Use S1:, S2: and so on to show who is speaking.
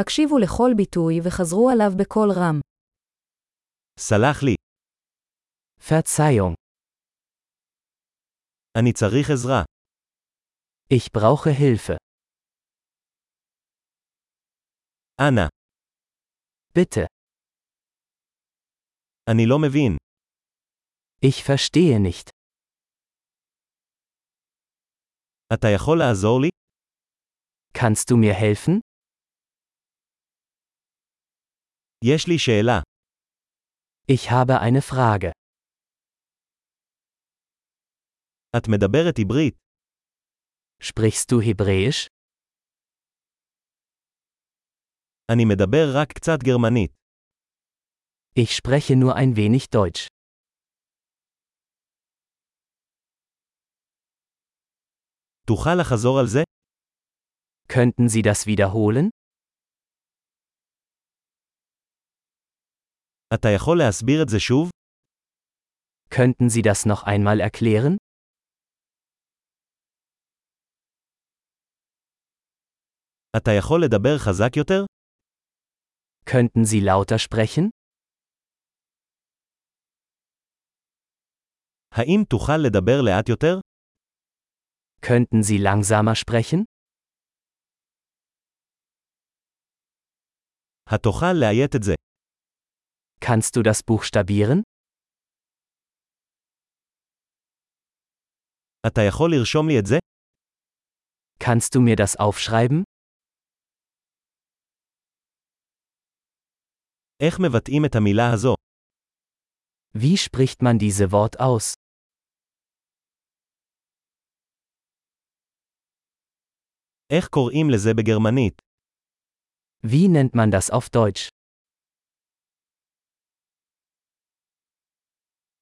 S1: הקשיבו לכל ביטוי וחזרו עליו בקול רם.
S2: סלח לי,
S3: Verzeihung,
S2: אני צריך עזרה.
S3: ich brauche Hilfe.
S2: אנא,
S3: Bitte,
S2: אני לא מבין.
S3: ich verstehe nicht.
S2: אתה יכול לעזור לי?
S3: Kannst du mir helfen?
S2: יש לי שאלה.
S3: Ich habe eine Frage.
S2: את מדברת עברית.
S3: Sprichst du Hebräisch?
S2: אני מדבר רק קצת גרמנית.
S3: Ich spreche nur ein wenig Deutsch.
S2: תוכל לחזור על זה?
S3: Könnten Sie das wiederholen?
S2: אתה יכול להסביר את זה שוב?
S3: Könnten Sie das noch einmal erklären?
S2: אתה יכול לדבר חזק יותר?
S3: Könnten Sie lauter sprechen?
S2: האם תוכל לדבר לאט יותר?
S3: Könnten Sie langsamer sprechen?
S2: התוכל לאיית את זה.
S3: Kannst du das buchstabieren?
S2: אתה יכול לרשום לי את זה?
S3: Kannst du mir das aufschreiben?
S2: איך מבטאים את המילה הזו?
S3: Wie spricht man diese Wort aus?
S2: איך קוראים לזה בגרמנית?
S3: Wie nennt man das auf Deutsch?